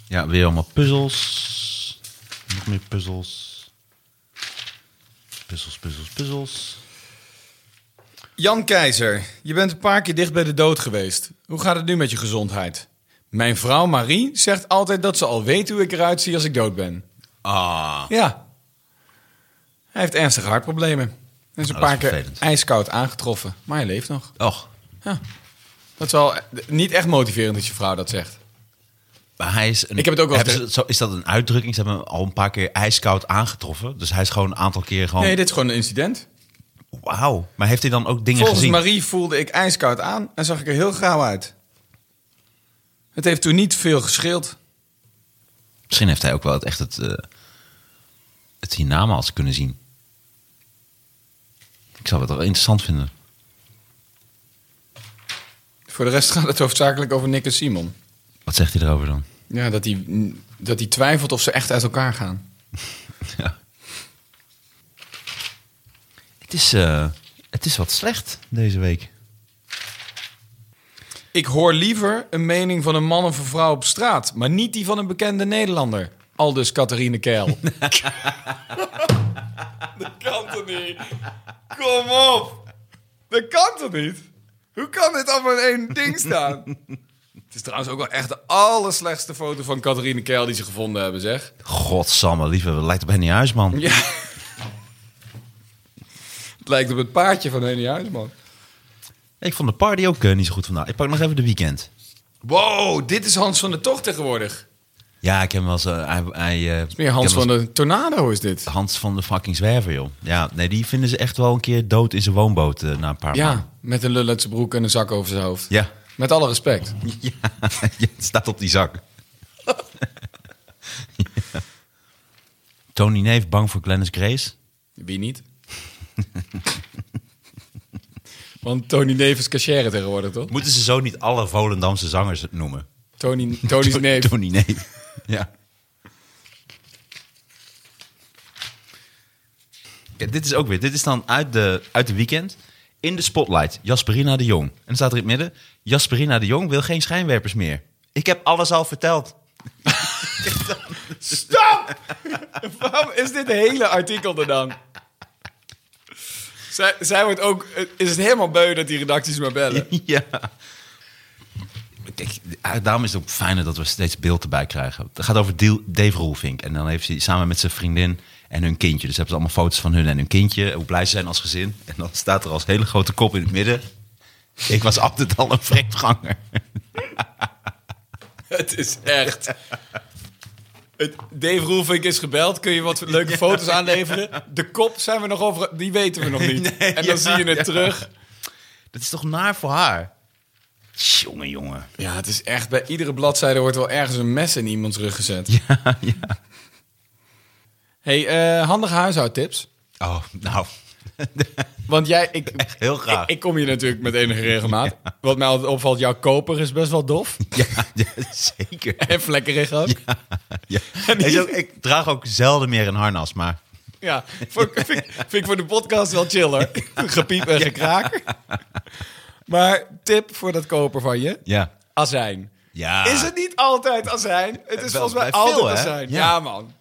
Speaker 3: Ja, weer allemaal puzzels. Nog meer puzzels. Puzzels, puzzels, puzzels.
Speaker 4: Jan Keizer, je bent een paar keer dicht bij de dood geweest. Hoe gaat het nu met je gezondheid? Mijn vrouw Marie zegt altijd dat ze al weet hoe ik eruit zie als ik dood ben.
Speaker 3: Ah,
Speaker 4: Ja. Hij heeft ernstige hartproblemen. Hij is een
Speaker 3: Nou, dat
Speaker 4: paar
Speaker 3: is
Speaker 4: keer
Speaker 3: vervelend.
Speaker 4: ijskoud aangetroffen, maar hij leeft nog.
Speaker 3: och.
Speaker 4: Ja. Dat is wel eh, niet echt motiverend dat je vrouw dat zegt.
Speaker 3: Maar hij is een,
Speaker 4: Ik heb het ook wel eens
Speaker 3: Hebben ze- zo, Is dat een uitdrukking? Ze hebben hem al een paar keer ijskoud aangetroffen. Dus hij is gewoon een aantal keer gewoon...
Speaker 4: Nee, dit is gewoon een incident.
Speaker 3: Wauw. Maar heeft hij dan ook dingen
Speaker 4: Volgens
Speaker 3: gezien?
Speaker 4: Marie voelde ik ijskoud aan en zag ik er heel grauw uit. Het heeft toen niet veel gescheeld.
Speaker 3: Misschien heeft hij ook wel het, echt het, eh het hiernamaals kunnen zien. Ik zou het wel interessant vinden.
Speaker 4: Voor de rest gaat het hoofdzakelijk over Nick en Simon.
Speaker 3: Wat zegt hij erover dan?
Speaker 4: Ja, dat hij, dat hij twijfelt of ze echt uit elkaar gaan.
Speaker 3: Ja. Het is, eh, het is wat slecht deze week.
Speaker 4: Ik hoor liever een mening van een man of een vrouw op straat, maar niet die van een bekende Nederlander. Aldus Catharine Keil. dat kan toch niet? Kom op! Dat kan toch niet? Hoe kan dit allemaal in één ding staan? Het is trouwens ook wel echt de allerslechtste foto van Catharine Keil die ze gevonden hebben, zeg.
Speaker 3: Godsamme, lieve, dat lijkt op Henny Huisman.
Speaker 4: Ja. Het lijkt op het paardje van Henny Huisman.
Speaker 3: Ik vond de party ook eh, niet zo goed vandaag. Ik pak nog even de weekend.
Speaker 4: Wow, dit is Hans van de Tocht tegenwoordig.
Speaker 3: Ja, ik heb hem wel eens... eh, hij, hij, eh, ik
Speaker 4: Meer
Speaker 3: heb
Speaker 4: Hans
Speaker 3: hem wel
Speaker 4: van
Speaker 3: eens-
Speaker 4: de Tornado is dit.
Speaker 3: Hans van de fucking zwerver, joh. Ja, nee, die vinden ze echt wel een keer dood in zijn woonboot eh, na een paar maanden.
Speaker 4: Ja, met een lul uit zijn broek en een zak over zijn hoofd.
Speaker 3: Ja.
Speaker 4: Met alle respect.
Speaker 3: Ja, het staat op die zak. Ja. Tony Neef bang voor Glennis Grace.
Speaker 4: Wie niet? Want Tony Neef is cachère tegenwoordig, toch?
Speaker 3: Moeten ze zo niet alle Volendamse zangers het noemen?
Speaker 4: Tony, Tony's neef.
Speaker 3: Tony Neef. ja. Kijk, dit is ook weer. Dit is dan uit de, uit de weekend. In de spotlight. Jasperina de Jong. En dan staat er in het midden. Jasperina de Jong wil geen schijnwerpers meer. Ik heb alles al verteld.
Speaker 4: Stop! Waarom is dit hele artikel er dan? Zij, zij wordt ook... Is het helemaal beu dat die redacties maar bellen?
Speaker 3: ja. Kijk, eh, daarom is het ook fijner dat we steeds beeld erbij krijgen. Het gaat over Deal- Dave Roelvink. En dan heeft hij samen met zijn vriendin en hun kindje. Dus hebben ze allemaal foto's van hun en hun kindje. Hoe blij ze zijn als gezin. En dan staat er als hele grote kop in het midden. Ik was altijd al een vreemdganger.
Speaker 4: Het is echt. Het, Dave Roelvink is gebeld. Kun je wat leuke foto's aanleveren? De kop zijn we nog over. Die weten we nog niet.
Speaker 3: Nee,
Speaker 4: en dan
Speaker 3: ja,
Speaker 4: zie je het
Speaker 3: ja.
Speaker 4: terug.
Speaker 3: Dat is toch naar voor haar? Jongen, jongen.
Speaker 4: Ja, het is echt. Bij iedere bladzijde wordt wel ergens een mes in iemands rug gezet.
Speaker 3: Ja, ja.
Speaker 4: Hey, eh, handige huishoudtips.
Speaker 3: Oh, nou.
Speaker 4: Want jij, ik,
Speaker 3: heel graag.
Speaker 4: Ik, ik kom hier natuurlijk met enige regelmaat. Wat mij altijd opvalt, jouw koper is best wel dof.
Speaker 3: Ja, ja, zeker.
Speaker 4: En vlekkerig ook. Ja,
Speaker 3: Ja. Hij is ook- ik draag ook zelden meer een harnas, maar...
Speaker 4: voor- vind, ik- vind ik voor de podcast wel chiller. Gepiep en gekraak. Maar tip voor dat koper van je.
Speaker 3: Ja.
Speaker 4: Azijn.
Speaker 3: Ja.
Speaker 4: Is het niet altijd azijn? Het is
Speaker 3: Ah. Wel,
Speaker 4: volgens mij
Speaker 3: bij
Speaker 4: altijd
Speaker 3: veel, hè?
Speaker 4: azijn. Ja,
Speaker 3: Ja.
Speaker 4: man.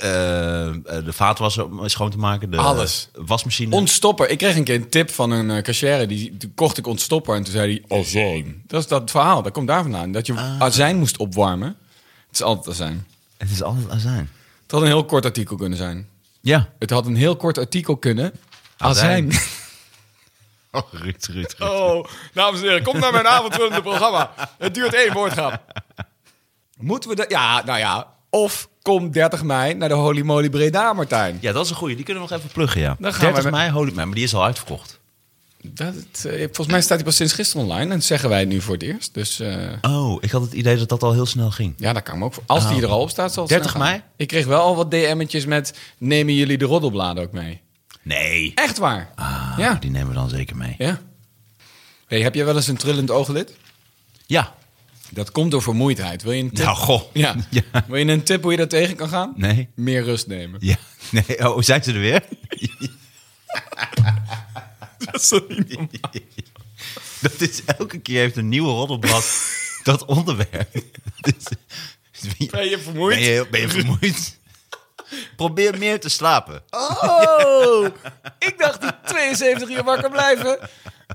Speaker 3: Eh, eh, de vaatwasser om schoon te maken. De
Speaker 4: Alles.
Speaker 3: Wasmachine.
Speaker 4: Ontstopper. Ik kreeg een keer een tip van een eh, cachère. Die, toen kocht ik ontstopper en toen zei hij azijn. Dat is dat verhaal. Dat komt daar vandaan. Dat je azijn moest opwarmen. Het is altijd azijn.
Speaker 3: het is altijd azijn.
Speaker 4: Het had een heel kort artikel kunnen zijn.
Speaker 3: Ja.
Speaker 4: Het had een heel kort artikel kunnen. Azijn.
Speaker 3: Azijn. Oh, Ruud, Ruud, Ruud.
Speaker 4: Oh, dames en heren, kom naar mijn avondvullende programma. Het duurt één woordgrap. Moeten we dat... Ja, nou ja. Of kom 30 mei naar de Holy Moly Breda, Martijn.
Speaker 3: Ja, dat is een goeie. Die kunnen we nog even pluggen, ja.
Speaker 4: Dan gaan
Speaker 3: 30
Speaker 4: we met-
Speaker 3: mei, holy man, maar die is al uitverkocht.
Speaker 4: Dat, eh, volgens mij staat hij pas sinds gisteren online. En dat zeggen wij nu voor het eerst. Dus eh,
Speaker 3: Oh, ik had het idee dat dat al heel snel ging.
Speaker 4: ja, dat kan me ook voor. Als die er al op staat, zal het
Speaker 3: 30
Speaker 4: snel gaan.
Speaker 3: Oh. mei?
Speaker 4: Ik kreeg wel al wat DM'tjes met... Nemen jullie de roddelbladen ook mee?
Speaker 3: Nee.
Speaker 4: Echt waar?
Speaker 3: Ah,
Speaker 4: Ja.
Speaker 3: Die nemen we dan zeker mee.
Speaker 4: Ja. Hey, heb jij wel eens een trillend ooglid?
Speaker 3: Ja.
Speaker 4: Dat komt door vermoeidheid. Wil je een tip?
Speaker 3: Nou, goh.
Speaker 4: Ja.
Speaker 3: Ja.
Speaker 4: Wil je een tip hoe je dat tegen kan gaan?
Speaker 3: Nee.
Speaker 4: Meer rust nemen.
Speaker 3: Ja. Nee, oh, zijn ze er weer? Dat is, elke keer heeft een nieuwe roddelblad dat onderwerp. Dus,
Speaker 4: Ben je vermoeid?
Speaker 3: Ben je, ben je vermoeid? Probeer meer te slapen.
Speaker 4: Oh, ik dacht die 72 uur wakker blijven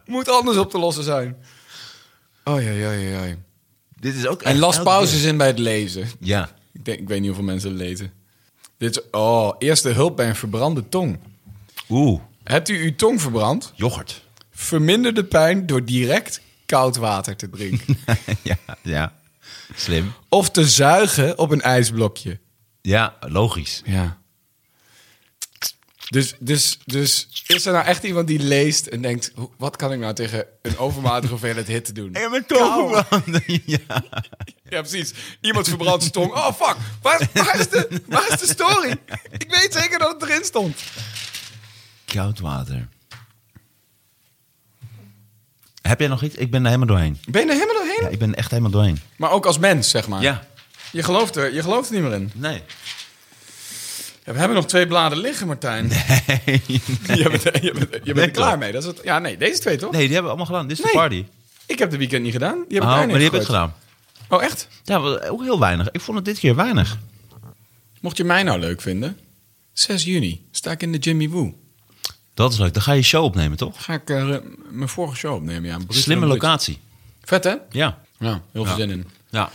Speaker 4: moet anders op te lossen zijn. Oh ja, ja, ja, ja.
Speaker 3: Dit is ook
Speaker 4: En
Speaker 3: echt
Speaker 4: las
Speaker 3: elke
Speaker 4: pauzes
Speaker 3: keer.
Speaker 4: in bij het lezen.
Speaker 3: Ja.
Speaker 4: Ik, denk, ik weet niet hoeveel mensen lezen. Dit is, oh, eerste hulp bij een verbrande tong.
Speaker 3: Oeh,
Speaker 4: Hebt u uw tong verbrand?
Speaker 3: yoghurt.
Speaker 4: Verminder de pijn door direct koud water te drinken.
Speaker 3: ja, ja, slim.
Speaker 4: of te zuigen op een ijsblokje.
Speaker 3: Ja, logisch.
Speaker 4: Ja. Dus, dus, dus is er nou echt iemand die leest en denkt... "Hoe- wat kan ik nou tegen een overmatige hoeveelheid hitte doen?
Speaker 3: En mijn tong ja.
Speaker 4: Ja, precies. Iemand verbrandt zijn tong. Oh, fuck. Waar, waar, is de, waar is de story? Ik weet zeker dat het erin stond.
Speaker 3: Koud water. Heb jij nog iets? Ik ben er helemaal doorheen.
Speaker 4: Ben je er helemaal doorheen?
Speaker 3: Ja, ik ben echt helemaal doorheen.
Speaker 4: Maar ook als mens, zeg maar.
Speaker 3: Ja,
Speaker 4: Je, gelooft er, je gelooft er niet meer in.
Speaker 3: nee.
Speaker 4: Ja, we hebben nog twee bladen liggen, Martijn. Je bent, je bent, je bent
Speaker 3: Nee,
Speaker 4: er klaar
Speaker 3: toch?
Speaker 4: mee. Dat is het, ja, nee, deze twee toch?
Speaker 3: Nee, die hebben we allemaal gedaan. Dit is
Speaker 4: Nee.
Speaker 3: de party.
Speaker 4: Ik heb de weekend niet gedaan. Die heb
Speaker 3: Oh, maar
Speaker 4: ik bijna
Speaker 3: die hebben we
Speaker 4: ingegooid.
Speaker 3: gedaan.
Speaker 4: Oh, echt?
Speaker 3: Ja, wel, ook heel weinig. Ik vond het dit keer weinig.
Speaker 4: Mocht je mij nou leuk vinden, 6 juni sta ik in de Jimmy Woo.
Speaker 3: Dat is leuk. Dan ga je show opnemen, toch?
Speaker 4: Ga ik eh, mijn vorige show opnemen, ja. Brutal
Speaker 3: Slimme
Speaker 4: Brut.
Speaker 3: locatie.
Speaker 4: Vet, hè?
Speaker 3: Ja.
Speaker 4: Ja, heel veel
Speaker 3: Ja.
Speaker 4: zin in.
Speaker 3: Ja.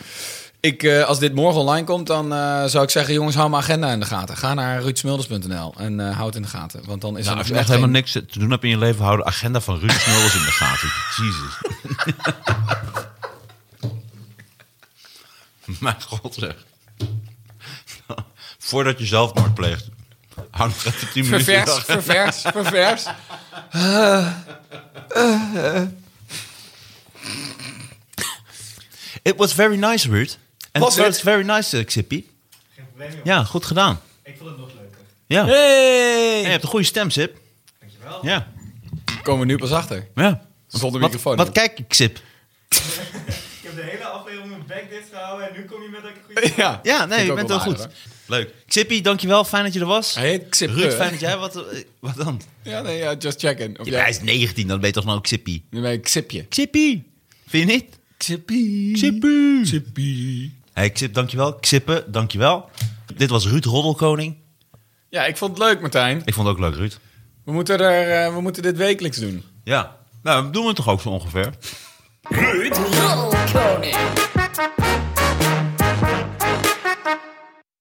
Speaker 4: Ik, eh, als dit morgen online komt, dan eh, zou ik zeggen... jongens, hou mijn agenda in de gaten. Ga naar ruudsmilders.nl en eh houd het in de gaten. Want dan is
Speaker 3: Nou,
Speaker 4: er
Speaker 3: als je
Speaker 4: nog
Speaker 3: echt helemaal
Speaker 4: geen-
Speaker 3: niks te doen hebt in je leven, hou de agenda van Ruud Smulders in de gaten. Jezus. Mijn god zeg. Voordat je zelfmoord pleegt, hou nog even 10 minuten. in de
Speaker 4: Ververs,
Speaker 3: agenda.
Speaker 4: ververs, ververs.
Speaker 3: It was very nice, Ruud. And
Speaker 4: Was
Speaker 3: it was
Speaker 4: it?
Speaker 3: very nice, eh, Xippy. Ja, goed gedaan.
Speaker 5: Ik vond het nog leuker.
Speaker 3: Ja. En je
Speaker 4: Hey!
Speaker 3: hebt een goede stem, Sip.
Speaker 5: Dankjewel.
Speaker 3: Ja.
Speaker 4: Komen we nu pas achter.
Speaker 3: ja.
Speaker 4: Zonder
Speaker 3: Wat-
Speaker 4: microfoon.
Speaker 3: Wat kijk ik, Sip?
Speaker 5: Ik heb de hele aflevering mijn bek dicht gehouden en nu kom je met dat ik goede...
Speaker 4: ja,
Speaker 3: Ja, nee,
Speaker 4: Vind
Speaker 3: je
Speaker 4: ik
Speaker 3: bent
Speaker 4: ook
Speaker 3: wel
Speaker 4: wel
Speaker 3: goed.
Speaker 4: aardig,
Speaker 3: Leuk. Xippy, dankjewel. Fijn dat je er was.
Speaker 4: Hij heet Xip.
Speaker 3: Ruud, fijn dat jij... Wat, eh, wat dan?
Speaker 4: Ja, nee, ja, just checking. Of
Speaker 3: Ja,
Speaker 4: jij-
Speaker 3: Hij is 19, dan ben je toch nou Xippy?
Speaker 4: Nu ben ik Xipje.
Speaker 3: Xippy! Vind je niet?
Speaker 4: Xippie.
Speaker 3: Xippy!
Speaker 4: Xippie.
Speaker 3: Hey, Xip, dankjewel. Xippe, dankjewel. Dit was Ruud Roddelkoning.
Speaker 4: Ja, ik vond het leuk, Martijn.
Speaker 3: Ik vond het ook leuk, Ruud.
Speaker 4: We moeten, er, eh, we moeten dit wekelijks doen.
Speaker 3: Ja. Nou, dat doen we toch ook zo ongeveer?
Speaker 6: Roddelkoning.